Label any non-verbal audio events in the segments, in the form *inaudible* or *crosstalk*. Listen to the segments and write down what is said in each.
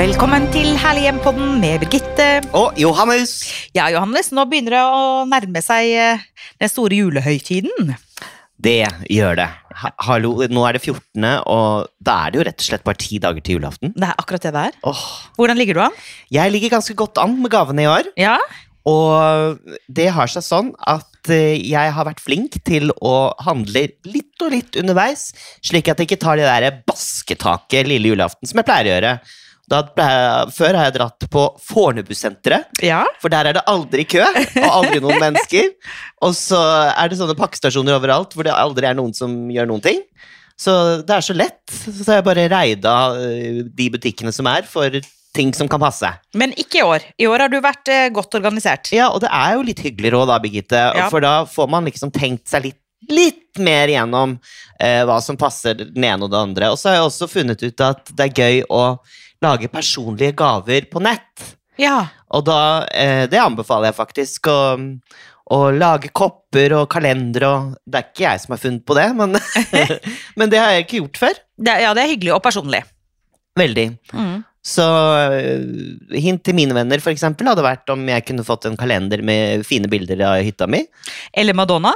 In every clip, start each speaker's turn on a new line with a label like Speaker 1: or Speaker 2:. Speaker 1: Velkommen til Herlig hjem-podden med Birgitte.
Speaker 2: Og Johannes!
Speaker 1: Ja, Johannes, nå begynner det å nærme seg eh, den store julehøytiden.
Speaker 2: Det gjør det. Ha hallo, nå er det 14., og da er det jo rett og slett bare ti dager til julaften.
Speaker 1: Det er akkurat det det er.
Speaker 2: Åh,
Speaker 1: Hvordan ligger du an?
Speaker 2: jeg ligger ganske godt an med gavene i år,
Speaker 1: Ja,
Speaker 2: og det har seg sånn at eh, jeg har vært flink til å handle litt og litt underveis, slik at jeg ikke tar det der basketaket lille julaften som jeg pleier å gjøre. Da, pleier jeg- før har jeg dratt på Fornebusenteret,
Speaker 1: ja.
Speaker 2: For der er det aldri kø, og aldri noen mennesker. Og så er det sånne pakkestasjoner overalt hvor det aldri er noen som gjør noen ting. Så det er så lett. Så har jeg bare reida eh, de butikkene som er, for ting som kan passe.
Speaker 1: Men ikke i år. I år har du vært eh, godt organisert.
Speaker 2: Ja, og det er jo litt hyggeligere òg, da, Birgitte.
Speaker 1: Ja.
Speaker 2: For da får man liksom tenkt seg litt, litt mer gjennom eh, hva som passer den ene og det andre. Og så har jeg også funnet ut at det er gøy å lage personlige gaver på nett.
Speaker 1: Ja,
Speaker 2: Og da, eh, det anbefaler jeg faktisk å, å lage kopper og kalendere og Det er ikke jeg som har funnet på det, men, *laughs* men det har jeg ikke gjort før.
Speaker 1: det, ja, det er hyggelig og personlig.
Speaker 2: Veldig.
Speaker 1: Mm.
Speaker 2: Så eh, hint til mine venner for eksempel, hadde vært om jeg kunne fått en kalender med fine bilder av hytta mi.
Speaker 1: Eller Madonna.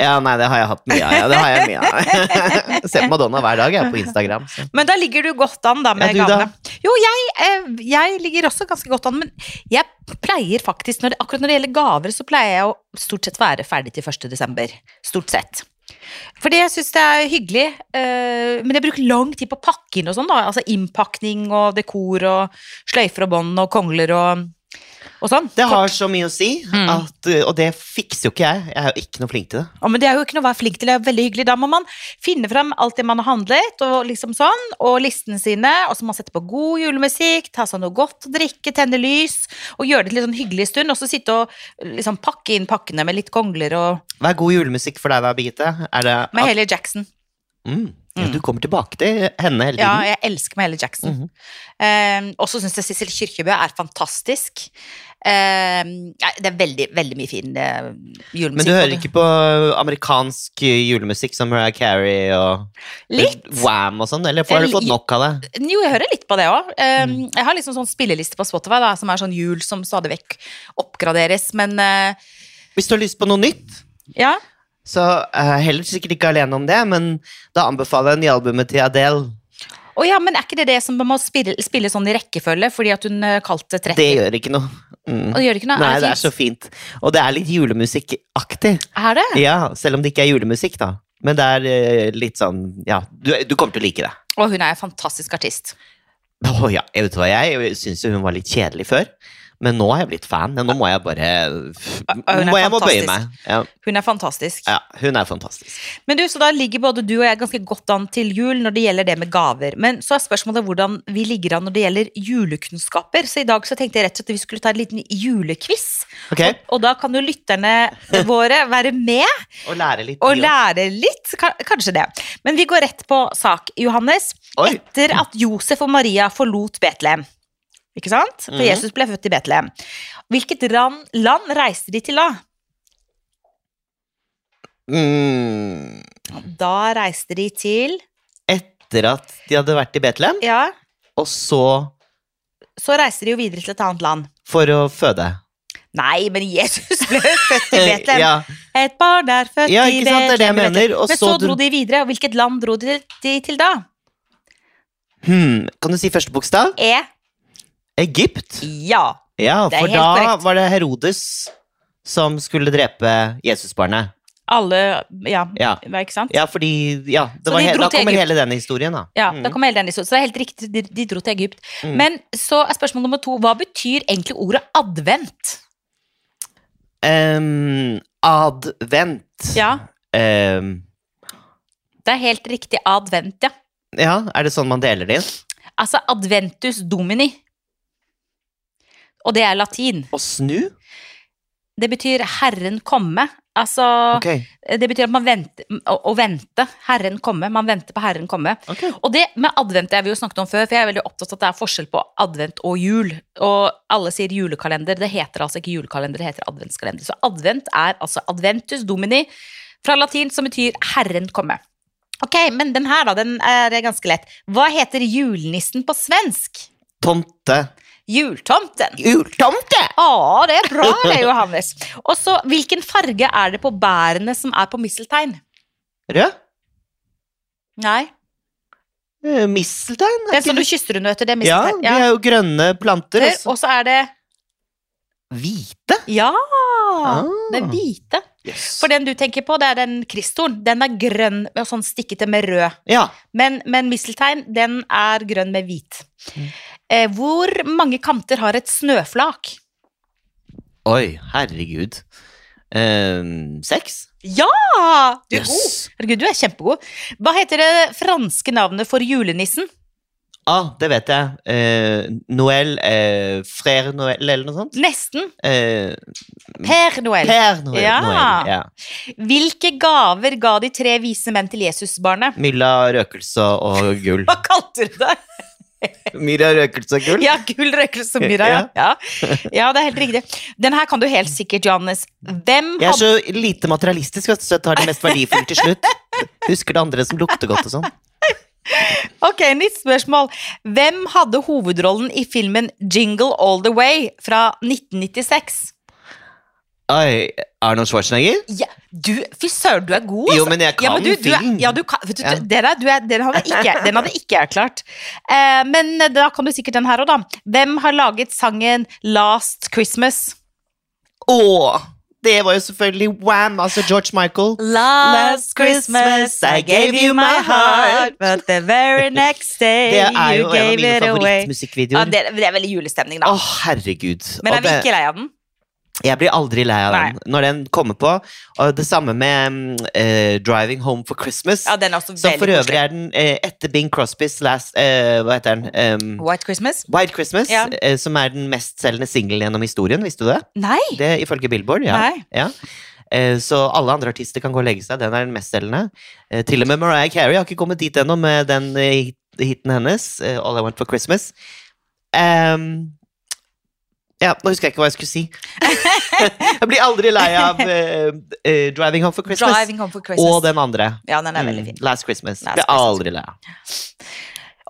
Speaker 2: Ja, nei, det har jeg hatt mye av. Ja, det har jeg mye av. *laughs* Ser på Madonna hver dag jeg er på Instagram. Så.
Speaker 1: Men da ligger du godt an da med
Speaker 2: Ja, du da?
Speaker 1: gavene. Jo, jeg, eh, jeg ligger også ganske godt an, men jeg pleier faktisk, når det, akkurat når det gjelder gaver, så pleier jeg å stort sett være ferdig til 1. desember. Stort sett. Fordi jeg syns det er hyggelig, eh, men jeg bruker lang tid på å pakke inn og sånn, da. Altså innpakning og dekor og sløyfer og bånd og kongler og, og sånn.
Speaker 2: Det har så mye å si,
Speaker 1: Mm.
Speaker 2: at, og det fikser jo ikke jeg. Jeg er jo ikke noe flink til det.
Speaker 1: Ja, men det er jo ikke noe å være flink til, det er veldig hyggelig. Da må man finne frem alt det man har handlet, og liksom sånn, og listene sine, og så må man sette på god julemusikk, ta seg noe godt å drikke, tenne lys, og gjøre det til en sånn hyggelig stund, og så sitte og liksom pakke inn pakkene med litt kongler og
Speaker 2: Hva er god julemusikk for deg da, Birgitte? Er det
Speaker 1: Med Haley Jackson.
Speaker 2: Mm. Ja, du kommer tilbake til henne hele
Speaker 1: Ja,
Speaker 2: tiden.
Speaker 1: jeg elsker med Haley Jackson.
Speaker 2: Mhm.
Speaker 1: Eh, og så syns jeg Sissel Kyrkjebø er fantastisk. Eh, nei, det er veldig, veldig mye fin eh, julemusikk.
Speaker 2: Men du hører
Speaker 1: på det.
Speaker 2: ikke på amerikansk eh, julemusikk som Mariah Carey og
Speaker 1: Litt.
Speaker 2: Wham og sånn, eller har du fått nok av det?
Speaker 1: Jo, jeg hører litt på det òg.
Speaker 2: Mm.
Speaker 1: Jeg har liksom sånn spilleliste på Spotify da, som er sånn jul som stadig vekk oppgraderes, men eh,
Speaker 2: Hvis du har lyst på noe nytt,
Speaker 1: ja.
Speaker 2: så er jeg heller sikkert ikke alene om det, men da anbefaler jeg nyalbumet til Adele.
Speaker 1: Å ja, men er ikke det det som man må spille, spille sånn i rekkefølge fordi at hun eh, kalte 30?
Speaker 2: Det gjør ikke noe. Mm.
Speaker 1: Og det gjør ikke noe?
Speaker 2: Nei, det
Speaker 1: det
Speaker 2: er så fint. Og det er litt julemusikkaktig.
Speaker 1: Er det?
Speaker 2: Ja, selv om det ikke er julemusikk, da. Men det er eh, litt sånn Ja, du, du kommer til å like det.
Speaker 1: Og hun er en fantastisk artist.
Speaker 2: *laughs* Å ja, jeg vet hva, jeg syns jo hun var litt kjedelig før. Men nå er jeg blitt fan. Nå må jeg bare
Speaker 1: Hun er
Speaker 2: må Jeg må bøye
Speaker 1: fantastisk.
Speaker 2: meg. Ja,
Speaker 1: Hun er fantastisk.
Speaker 2: ja, hun er fantastisk.
Speaker 1: Men du, Så da ligger både du og jeg ganske godt an til jul når det gjelder det med gaver. Men så er spørsmålet hvordan vi ligger an når det gjelder julekunnskaper. Så i dag så tenkte jeg rett og slett at vi skulle ta en liten julequiz.
Speaker 2: Ok,
Speaker 1: Og da kan jo
Speaker 2: *laughs*
Speaker 1: lytterne våre være med
Speaker 2: Og lære litt.
Speaker 1: og
Speaker 2: til jul.
Speaker 1: lære litt. ka- Kanskje det. Men vi går rett på sak, Johannes.
Speaker 2: Oi.
Speaker 1: Etter at Josef og Maria forlot Betlehem, ikke sant? For
Speaker 2: Mhm.
Speaker 1: Jesus ble født i Betlehem. Hvilket ran, land reiste de til da?
Speaker 2: Mm,
Speaker 1: Da reiste de til
Speaker 2: etter at de hadde vært i Betlehem,
Speaker 1: Ja,
Speaker 2: og så
Speaker 1: så reiste de jo videre til et annet land.
Speaker 2: for å føde.
Speaker 1: Nei, men Jesus ble jo født i Betlehem.
Speaker 2: *laughs* Ja,
Speaker 1: Et barn er født
Speaker 2: ja,
Speaker 1: i
Speaker 2: ikke sant, det er det jeg
Speaker 1: Betlehem.
Speaker 2: mener. Og
Speaker 1: Men
Speaker 2: så
Speaker 1: så dro de videre, og hvilket land dro de de til da?
Speaker 2: hmm, Kan du si første bokstav?
Speaker 1: E.
Speaker 2: Egypt.
Speaker 1: Ja.
Speaker 2: Ja,
Speaker 1: Det er
Speaker 2: for
Speaker 1: helt
Speaker 2: da
Speaker 1: korrekt.
Speaker 2: var det Herodes som skulle drepe Jesusbarnet.
Speaker 1: Alle Ja,
Speaker 2: Ja.
Speaker 1: ikke sant?
Speaker 2: Ja, fordi ja, det
Speaker 1: Så
Speaker 2: var
Speaker 1: de
Speaker 2: he
Speaker 1: dro
Speaker 2: Da
Speaker 1: til
Speaker 2: kommer
Speaker 1: Egypt.
Speaker 2: hele den historien, da.
Speaker 1: Ja,
Speaker 2: Mm.
Speaker 1: da kom hele den historien. Så det er helt riktig, de, de dro til Egypt.
Speaker 2: Mm.
Speaker 1: Men så er spørsmål nummer to, hva betyr egentlig ordet advent?
Speaker 2: Ehm, advent.
Speaker 1: Ja,
Speaker 2: Ehm,
Speaker 1: det er helt riktig advent, ja.
Speaker 2: ja, er det sånn man deler det inn?
Speaker 1: Altså adventus domini. Og det er latin.
Speaker 2: Å snu?
Speaker 1: Det betyr herren komme. Altså,
Speaker 2: Ok.
Speaker 1: det betyr at man venter, å, å vente. Herren komme. Man venter på herren komme.
Speaker 2: ok.
Speaker 1: Og det med advent det har vi jo snakket om før, for jeg er veldig opptatt av at det er forskjell på advent og jul. Og alle sier julekalender. Det heter altså ikke julekalender, det heter adventskalender. Så advent er altså adventus domini fra latin, som betyr Herren komme. Ok, men den her da, den er ganske lett. Hva heter julenissen på svensk?
Speaker 2: Tomte.
Speaker 1: Jultomten.
Speaker 2: Jultomte!
Speaker 1: Å, det er bra det, Johannes. Og så, hvilken farge er det på bærene som er på misteltein?
Speaker 2: Rød?
Speaker 1: Nei,
Speaker 2: Eh, Misteltein?
Speaker 1: det er sånn du kysser under, vet du, det er
Speaker 2: Ja,
Speaker 1: misteltein.
Speaker 2: de er jo grønne planter.
Speaker 1: Der,
Speaker 2: Også.
Speaker 1: Og så er det
Speaker 2: Hvite?
Speaker 1: Ja!
Speaker 2: Ah.
Speaker 1: Det er hvite.
Speaker 2: Yes.
Speaker 1: For den du tenker på, det er den kristoren. Den er grønn og sånn stikkete med rød.
Speaker 2: Ja.
Speaker 1: Men, men misteltein, den er grønn med hvit.
Speaker 2: Mm.
Speaker 1: Eh, hvor mange kanter har et snøflak?
Speaker 2: Oi, herregud. Um, seks?
Speaker 1: Ja! Du er god.
Speaker 2: Yes.
Speaker 1: Herregud, du er kjempegod. Hva heter det franske navnet for julenissen?
Speaker 2: Ah, det vet jeg. Eh, Noël eh, Frère Noël, eller noe sånt.
Speaker 1: Nesten.
Speaker 2: Eh,
Speaker 1: Per Noël.
Speaker 2: per Noël.
Speaker 1: Ja.
Speaker 2: Noël, ja.
Speaker 1: Hvilke gaver ga de tre vise menn til Jesusbarnet?
Speaker 2: Mylla røkelse og
Speaker 1: *laughs*
Speaker 2: gull.
Speaker 1: Hva kalte du det?
Speaker 2: Mylla røkelse og gull?
Speaker 1: Ja, gull røkelse og myra. *laughs* Ja. Ja. ja, det er helt riktig. Den her kan du helt sikkert, Johannes. Hvem
Speaker 2: Jeg er så lite materialistisk, vet du, så jeg tar det mest verdifulle til slutt. Husker det andre som lukter godt og sånn.
Speaker 1: Ok, nytt spørsmål. Hvem hadde hovedrollen i filmen Jingle All The Way fra 1996?
Speaker 2: Oi, Arnold Schwarzenegger?
Speaker 1: Ja, du, fy søren, du er god, altså.
Speaker 2: Jo, men jeg
Speaker 1: ja, men
Speaker 2: kan
Speaker 1: du, du er,
Speaker 2: film.
Speaker 1: ja, du kan, vet du,
Speaker 2: Ja.
Speaker 1: det der, du er, den, hadde ikke, den hadde ikke jeg klart. Eh, men da kan du sikkert den her òg, da. Hvem har laget sangen Last Christmas?
Speaker 2: Åh, det var jo selvfølgelig Wham! Altså George Michael. Last Christmas, I gave you my heart,
Speaker 1: but the very next day
Speaker 2: Det er jo en av mine favorittmusikkvideoer.
Speaker 1: Ja,
Speaker 2: Åh,
Speaker 1: det, det er veldig julestemning, da.
Speaker 2: herregud.
Speaker 1: men
Speaker 2: Og
Speaker 1: er vi
Speaker 2: det-
Speaker 1: ikke lei av den?
Speaker 2: Jeg blir aldri lei av den når den kommer på. Og det samme med mm, eh, Driving Home for Christmas.
Speaker 1: Ja, den er også
Speaker 2: som
Speaker 1: veldig
Speaker 2: for øvrig
Speaker 1: koselig.
Speaker 2: er den eh, etter Bing Crosbys last eh, Hva heter den? Um,
Speaker 1: White Christmas?
Speaker 2: White Christmas,
Speaker 1: Ja.
Speaker 2: eh, som er den mestselgende singelen gjennom historien. Visste du det?
Speaker 1: Nei!
Speaker 2: Det Ifølge Billboard, ja.
Speaker 1: Nei.
Speaker 2: ja. Eh, Så alle andre artister kan gå og legge seg. Den er den mestselgende. Eh, Til og med Mariah Carey har ikke kommet dit ennå med den eh, hit- hiten hennes, eh, All I Want for Christmas. Ehm, ja, nå husker jeg ikke hva jeg skulle
Speaker 1: *laughs*
Speaker 2: si. jeg blir aldri lei av eh, eh, Driving Home for Christmas.
Speaker 1: Driving Home for Christmas.
Speaker 2: Og den andre.
Speaker 1: Ja, den er veldig
Speaker 2: Mm,
Speaker 1: fin.
Speaker 2: Last Christmas.
Speaker 1: Last
Speaker 2: blir aldri lei av.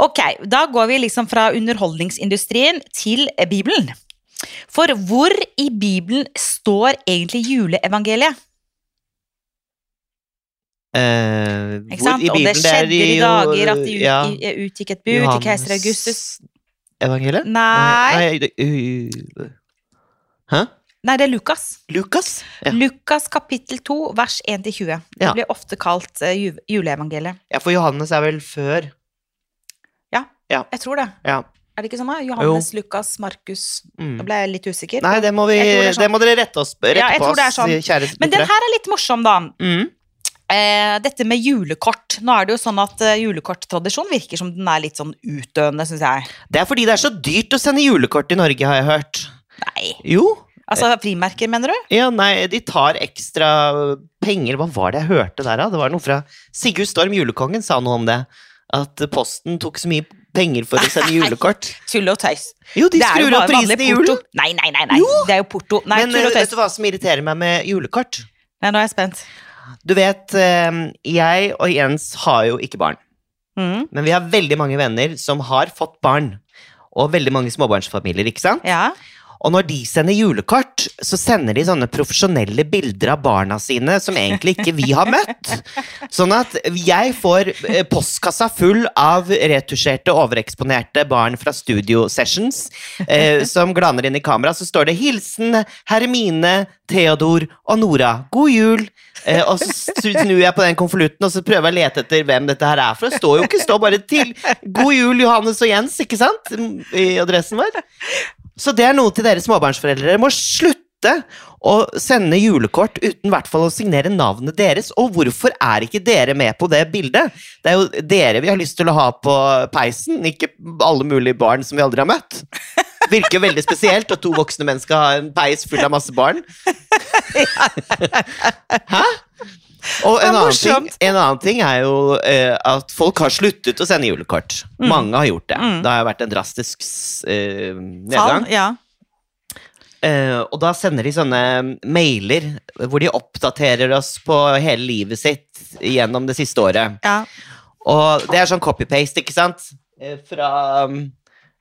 Speaker 1: Ok, da går vi liksom fra underholdningsindustrien til eh, Bibelen. For hvor i Bibelen står egentlig juleevangeliet?
Speaker 2: Eh,
Speaker 1: Ikke
Speaker 2: hvor
Speaker 1: sant?
Speaker 2: i
Speaker 1: Og det
Speaker 2: Bibelen, er
Speaker 1: skjedde i
Speaker 2: jo-
Speaker 1: dager at det ut,
Speaker 2: ja,
Speaker 1: i- utgikk et bud til keiser Augustus.
Speaker 2: Evangeliet?
Speaker 1: Nei,
Speaker 2: Nei, det- uh, Hæ?
Speaker 1: nei, det er Lukas.
Speaker 2: Lukas? Ja.
Speaker 1: Lukas kapittel 2, vers 1-20. Det
Speaker 2: Ja.
Speaker 1: blir ofte kalt eh, ju- juleevangeliet.
Speaker 2: ja, for Johannes er vel før.
Speaker 1: Jeg tror det.
Speaker 2: Ja.
Speaker 1: Er det ikke sånn? da? Johannes, Lukas, Markus. Da
Speaker 2: Mm.
Speaker 1: ble jeg litt usikker.
Speaker 2: Nei, det må, vi,
Speaker 1: Jeg tror det er sånn.
Speaker 2: det, må dere rette, oss, rette
Speaker 1: Ja, jeg
Speaker 2: på
Speaker 1: tror
Speaker 2: oss,
Speaker 1: det er sånn.
Speaker 2: kjære
Speaker 1: Men den
Speaker 2: lyttere.
Speaker 1: her er litt morsom, da.
Speaker 2: Mm.
Speaker 1: Eh, dette med julekort. Nå er det jo sånn at eh, julekorttradisjonen virker som den er litt sånn utdøende, syns jeg.
Speaker 2: Det er fordi det er så dyrt å sende julekort i Norge, har jeg hørt.
Speaker 1: Nei.
Speaker 2: Jo.
Speaker 1: Altså frimerker, mener du?
Speaker 2: Ja, nei, de tar ekstra penger. Hva var det jeg hørte der, da? Det var noe fra Sigurd Storm, julekongen, sa noe om det. At Posten tok så mye penger for å
Speaker 1: *laughs*
Speaker 2: sende julekort.
Speaker 1: Tull og tøys.
Speaker 2: Jo, de
Speaker 1: Det er jo
Speaker 2: skrur
Speaker 1: bare
Speaker 2: opp prisen
Speaker 1: vanlig
Speaker 2: i julen.
Speaker 1: porto. Nei, nei, nei. nei. Det er jo porto. Nei,
Speaker 2: Men
Speaker 1: tull
Speaker 2: eh,
Speaker 1: og
Speaker 2: vet
Speaker 1: tøys.
Speaker 2: du hva som irriterer meg med julekort?
Speaker 1: Nei, nå er jeg spent.
Speaker 2: Du vet, eh, jeg og Jens har jo ikke barn.
Speaker 1: Mm.
Speaker 2: Men vi har veldig mange venner som har fått barn. Og veldig mange småbarnsfamilier, ikke sant?
Speaker 1: Ja.
Speaker 2: Og når de sender julekort, så sender de sånne profesjonelle bilder av barna sine som egentlig ikke vi har møtt. Sånn at jeg får eh, postkassa full av retusjerte, overeksponerte barn fra studio sessions eh, som glaner inn i kamera. Så står det 'Hilsen Hermine, Theodor og Nora. God jul'. Eh, og så snur jeg på den konvolutten og så prøver jeg å lete etter hvem dette her er for. Det står jo ikke, det står bare til 'God jul, Johannes og Jens', ikke sant? I adressen vår. Så det er noe til dere småbarnsforeldre. Dere må slutte å sende julekort uten i hvert fall å signere navnet deres. Og hvorfor er ikke dere med på det bildet? Det er jo dere vi har lyst til å ha på peisen, ikke alle mulige barn som vi aldri har møtt. Virker jo veldig spesielt at to voksne menn skal ha en peis full av masse
Speaker 1: *laughs*
Speaker 2: barn. Hæ? Og
Speaker 1: Det er
Speaker 2: en annen, ting,
Speaker 1: morsomt.
Speaker 2: en annen ting er jo eh, at folk har sluttet å sende julekort. Mange har gjort det.
Speaker 1: Mm.
Speaker 2: Det har vært en drastisk s- eh, nedgang.
Speaker 1: Fall, ja.
Speaker 2: Eh, og da sender de sånne mailer hvor de oppdaterer oss på hele livet sitt gjennom det siste året.
Speaker 1: ja.
Speaker 2: Og det er sånn copy-paste, ikke sant? Eh, fra um,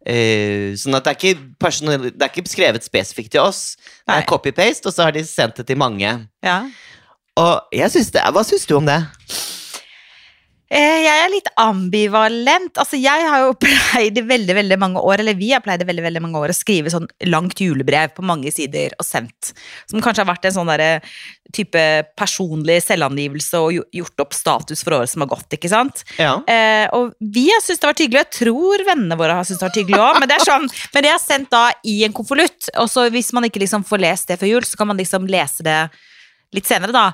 Speaker 2: Eh, sånn at det er, ikke personal, det er ikke skrevet spesifikt til oss. Det
Speaker 1: Nei.
Speaker 2: er copy-paste, og så har de sendt det til mange.
Speaker 1: Ja.
Speaker 2: Og jeg synes det, Hva syns du om det?
Speaker 1: Eh, Jeg er litt ambivalent. Altså, jeg har jo *laughs* pleid i veldig, veldig mange år, eller vi har pleid i veldig, veldig mange år å skrive sånn langt julebrev på mange sider og sendt. Som kanskje har vært en sånn derre type personlig selvangivelse og gjo- gjort opp status for året som har gått, ikke sant.
Speaker 2: Ja.
Speaker 1: Eh, og vi har syntes det har vært hyggelig, og jeg tror vennene våre har syntes det har vært hyggelig òg. Men det er sånn, men det er sendt da i en konvolutt, og så hvis man ikke liksom får lest det før jul, så kan man liksom lese det litt senere, da.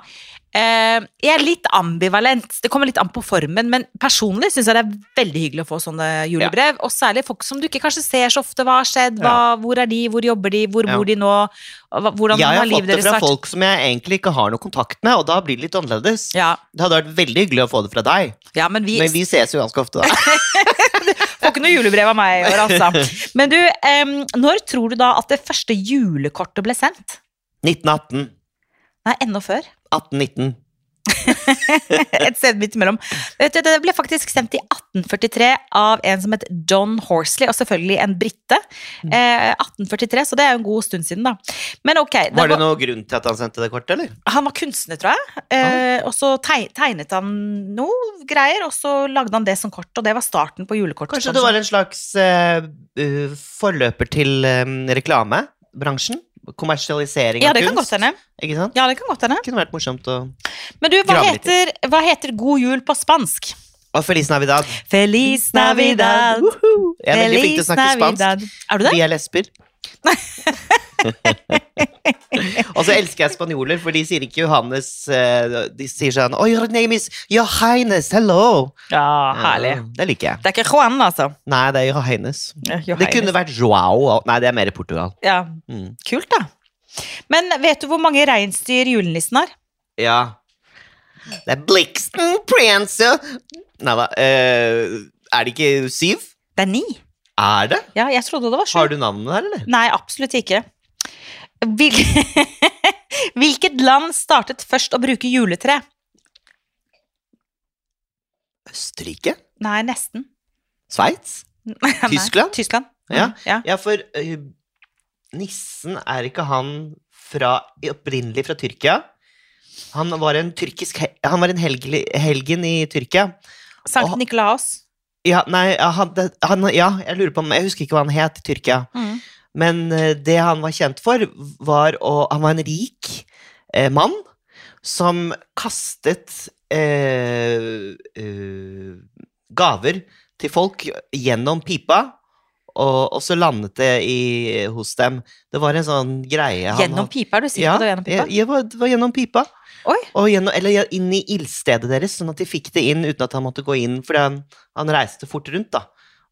Speaker 1: Eh, jeg er litt ambivalent. Det kommer litt an på formen, men personlig syns jeg det er veldig hyggelig å få sånne julebrev. Og særlig folk som du ikke kanskje ser så ofte. Hva har skjedd? Hva, Hvor er de? Hvor jobber de? Hvor
Speaker 2: Ja.
Speaker 1: bor de nå? Og hva- Hvordan
Speaker 2: Jeg
Speaker 1: har
Speaker 2: har fått
Speaker 1: livet
Speaker 2: det
Speaker 1: deres vært?
Speaker 2: fra folk som jeg egentlig ikke har noe kontakt med, og da blir det litt annerledes.
Speaker 1: Ja,
Speaker 2: Det hadde vært veldig hyggelig å få det fra deg,
Speaker 1: ja, men vi
Speaker 2: men vi ses jo ganske ofte,
Speaker 1: *laughs*
Speaker 2: da.
Speaker 1: Får ikke noe julebrev av meg i år, altså. Men du, em, når tror du da at det første julekortet ble sendt?
Speaker 2: 1918.
Speaker 1: Nei, enda før.
Speaker 2: 1819.
Speaker 1: Et sted midt imellom. Vet du, Det ble faktisk sendt i 1843 av en som het John Horsley, og selvfølgelig en brite. Eh, 1843, så det er jo en god stund siden, da. Men ok. det
Speaker 2: Var det
Speaker 1: var-
Speaker 2: noen grunn til at han sendte det kortet, eller?
Speaker 1: Han var kunstner, tror jeg. Eh, og så teg- tegnet han noe greier, og så lagde han det som kort, og det var starten på julekortet. Sånn
Speaker 2: Kanskje det var en slags eh, eh, forløper til eh, reklamebransjen? Kommersialisering
Speaker 1: ja,
Speaker 2: av
Speaker 1: det kan godt
Speaker 2: kunst?
Speaker 1: hende.
Speaker 2: Ikke sant?
Speaker 1: Ja, det kan godt hende.
Speaker 2: Det kunne vært morsomt å
Speaker 1: Men du, hva
Speaker 2: Grave litt
Speaker 1: heter, hva heter god jul på spansk?
Speaker 2: Og Feliz Navidad.
Speaker 1: Feliz Navidad.
Speaker 2: Woohoo! Mm. Jeg er veldig flink til å snakke spansk.
Speaker 1: Er du det?
Speaker 2: Vi er *laughs* lesber. og så elsker jeg spanjoler, for de sier ikke Johannes eh, De sier sånn Oh, your name is Johannes, hello!
Speaker 1: Ja, herlig.
Speaker 2: Ja, Det liker jeg.
Speaker 1: Det er ikke Juan, altså.
Speaker 2: Nei, det er Johannes.
Speaker 1: Ja,
Speaker 2: Det kunne vært Joao. og- Nei, det er mer i Portugal.
Speaker 1: Ja,
Speaker 2: Mm.
Speaker 1: kult da. Men vet du hvor mange reinsdyr julenissen har?
Speaker 2: Ja. Det er Blixten Prancer Nei da. eh, er det ikke syv?
Speaker 1: Det er ni.
Speaker 2: Er det?
Speaker 1: Ja, jeg trodde det var sju.
Speaker 2: Har du navnet der, eller?
Speaker 1: Nei, absolutt ikke. Hvil... *laughs* Hvilket land startet først å bruke juletre?
Speaker 2: Østerrike?
Speaker 1: Nei, nesten. *laughs*
Speaker 2: Sveits?
Speaker 1: Nei,
Speaker 2: Tyskland?
Speaker 1: Tyskland.
Speaker 2: Ja.
Speaker 1: Mm, ja.
Speaker 2: Ja, for eh, nissen er ikke han fra, opprinnelig fra Tyrkia. Han var en, tyrkisk, he- han var en helgli, helgen i Tyrkia.
Speaker 1: Sankt
Speaker 2: Og-
Speaker 1: Nikolaos.
Speaker 2: Ja, nei, ja, han, det- han, ja, jeg lurer på om Jeg husker ikke hva han het i Tyrkia.
Speaker 1: Mm.
Speaker 2: Men eh, det han var kjent for, var å Han var en rik eh, mann som kastet eh, eh, gaver til folk gjennom pipa, og, og så landet det i, hos dem. Det var en sånn greie han
Speaker 1: Gjennom
Speaker 2: hadde-
Speaker 1: pipa, er du sikker
Speaker 2: Ja,
Speaker 1: på det? var Gjennom pipa?
Speaker 2: ja, ja, det var- det var gjennom pipa.
Speaker 1: Oi.
Speaker 2: Og gjennom, eller ja, inn i ildstedet deres, sånn at de fikk det inn uten at han måtte gå inn, fordi han, han reiste fort rundt, da.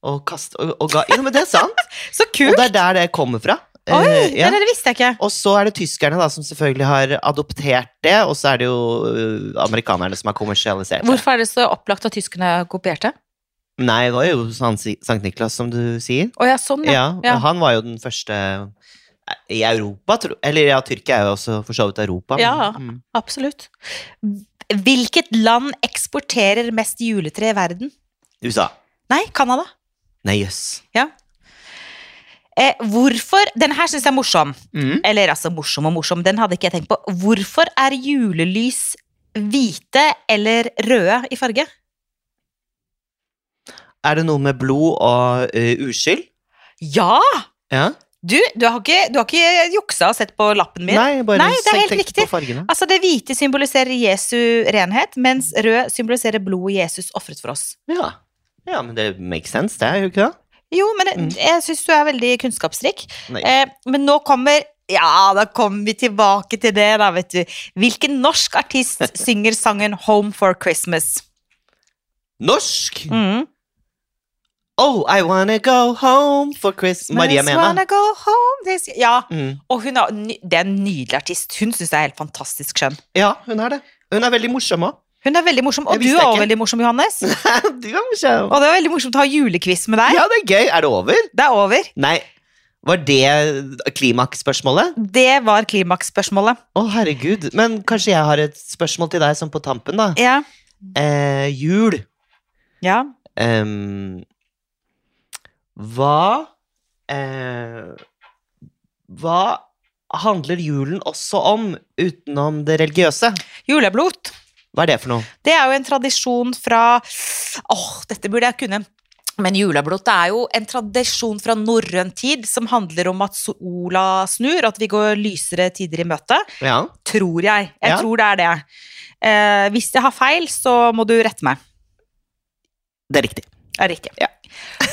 Speaker 2: Og, kast, og, og ga Ja, men det er sant!
Speaker 1: Så kult!
Speaker 2: Og det er der det kommer fra.
Speaker 1: Oi,
Speaker 2: Eh,
Speaker 1: det
Speaker 2: ja.
Speaker 1: der visste jeg ikke.
Speaker 2: Og så er det tyskerne da, som selvfølgelig har adoptert det, og så er det jo eh, amerikanerne som har kommersialisert det.
Speaker 1: Hvorfor er det så opplagt at tyskerne kopierte?
Speaker 2: Nei, det var jo sånn si- Sankt Niklas, som du sier.
Speaker 1: Å ja, sånn, ja.
Speaker 2: Ja, Han var jo den første eh, i Europa, tro- eller ja, Tyrkia er jo også for så vidt Europa. men-
Speaker 1: Ja.
Speaker 2: Mm.
Speaker 1: Absolutt. Hvilket land eksporterer mest juletre i verden?
Speaker 2: USA.
Speaker 1: Nei, Canada.
Speaker 2: Nei, jøss.
Speaker 1: Eh, hvorfor Den her syns jeg er morsom.
Speaker 2: Mm.
Speaker 1: Eller altså morsom og morsom, den hadde ikke jeg tenkt på. Hvorfor er julelys hvite eller røde i farge?
Speaker 2: Er det noe med blod og eh, uskyld?
Speaker 1: Ja!
Speaker 2: Ja.
Speaker 1: Du, du har ikke, du har ikke juksa og sett på lappen min.
Speaker 2: Nei, bare
Speaker 1: Nei, det er
Speaker 2: tenk-
Speaker 1: helt
Speaker 2: tenk
Speaker 1: riktig.
Speaker 2: på fargene.
Speaker 1: Altså, det hvite symboliserer Jesu renhet, mens rød symboliserer blodet Jesus ofret for oss.
Speaker 2: Ja. ja, men det makes sense, det, gjør det ikke det?
Speaker 1: Jo, men det,
Speaker 2: Mm.
Speaker 1: jeg syns du er veldig kunnskapsrik.
Speaker 2: Nei.
Speaker 1: Eh, men nå kommer Ja, da kommer vi tilbake til det, da, vet du. Hvilken norsk
Speaker 2: *laughs*
Speaker 1: artist synger sangen Home for Christmas?
Speaker 2: Norsk!
Speaker 1: Mm.
Speaker 2: Oh, I wanna go home for Christmas. Maria
Speaker 1: Just
Speaker 2: Mena.
Speaker 1: wanna go home this... Ja,
Speaker 2: Mm.
Speaker 1: og hun er, ny- det er en nydelig artist. Hun syns jeg er helt fantastisk skjønn.
Speaker 2: Ja, hun er det. Hun er veldig morsom òg.
Speaker 1: Hun er veldig morsom, og
Speaker 2: Jeg
Speaker 1: du
Speaker 2: visste
Speaker 1: er
Speaker 2: ikke.
Speaker 1: også veldig morsom, Johannes.
Speaker 2: *laughs* du er morsom.
Speaker 1: Og det var veldig morsomt å ha julequiz med deg.
Speaker 2: Ja, det er gøy. Er det over?
Speaker 1: Det er over.
Speaker 2: Nei. Var det klimaksspørsmålet?
Speaker 1: Det var klimaksspørsmålet.
Speaker 2: Å, herregud. Men kanskje jeg har et spørsmål til deg sånn på tampen, da.
Speaker 1: Ja.
Speaker 2: Eh, jul.
Speaker 1: ja.
Speaker 2: Ehm, Hva eh, Hva handler julen også om, utenom det religiøse?
Speaker 1: Juleblot.
Speaker 2: Hva er det for noe?
Speaker 1: Det er jo en tradisjon fra Åh, dette burde jeg kunne. Men juleblot er jo en tradisjon fra norrøn tid som handler om at sola snur, at vi går lysere tider i møte.
Speaker 2: Ja.
Speaker 1: Tror jeg. Jeg
Speaker 2: Ja.
Speaker 1: tror det er det. Eh, hvis jeg har feil, så må du rette meg.
Speaker 2: Det er riktig.
Speaker 1: Er det ikke?
Speaker 2: Ja.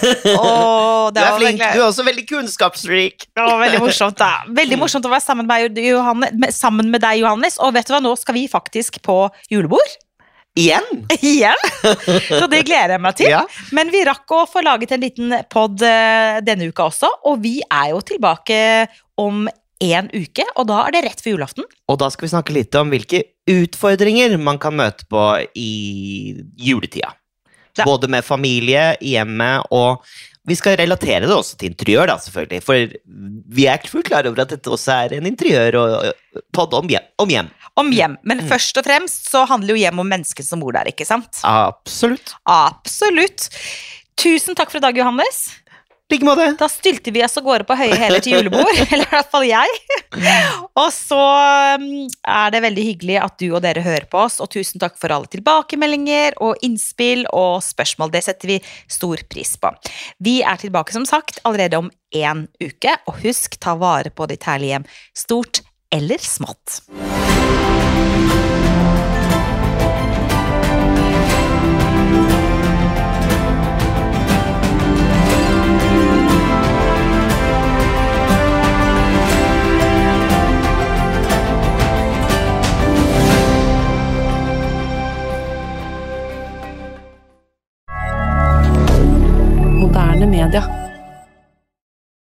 Speaker 1: *laughs* Åh,
Speaker 2: Du
Speaker 1: det
Speaker 2: er
Speaker 1: var
Speaker 2: flink.
Speaker 1: virkelig-
Speaker 2: Du er Mm. også veldig kunnskapsrik.
Speaker 1: Det var veldig morsomt, da. Veldig morsomt å være sammen med, deg, Johanne, med- sammen med deg, Johannes. Og vet du hva, nå skal vi faktisk på julebord *laughs*
Speaker 2: Igjen?
Speaker 1: igjen. Så det gleder jeg meg til.
Speaker 2: Ja.
Speaker 1: Men vi rakk å få laget en liten pod eh, denne uka også, og vi er jo tilbake om en uke, og da er det rett før julaften.
Speaker 2: Og da skal vi snakke litt om hvilke utfordringer man kan møte på i juletida.
Speaker 1: Ja.
Speaker 2: Både med familie, i hjemmet og Vi skal relatere det også til interiør, da, selvfølgelig. For vi er fullt klar over at dette også er en interiør- og og podd om hjem. Om hjem.
Speaker 1: Om hjem. Men først og fremst så handler jo hjem om menneskene som bor der, ikke sant?
Speaker 2: Absolutt.
Speaker 1: Absolutt. Tusen takk for i dag, Johannes.
Speaker 2: I like måte.
Speaker 1: Da stylte vi oss av gårde på høye hæler til julebord, *laughs* eller i hvert fall jeg. Og så um, er det veldig hyggelig at du og dere hører på oss, og tusen takk for alle tilbakemeldinger og innspill og spørsmål. Det setter vi stor pris på. Vi er tilbake som sagt allerede om én uke, og husk, ta vare på ditt herlige hjem, stort eller smått.
Speaker 3: Moderne media.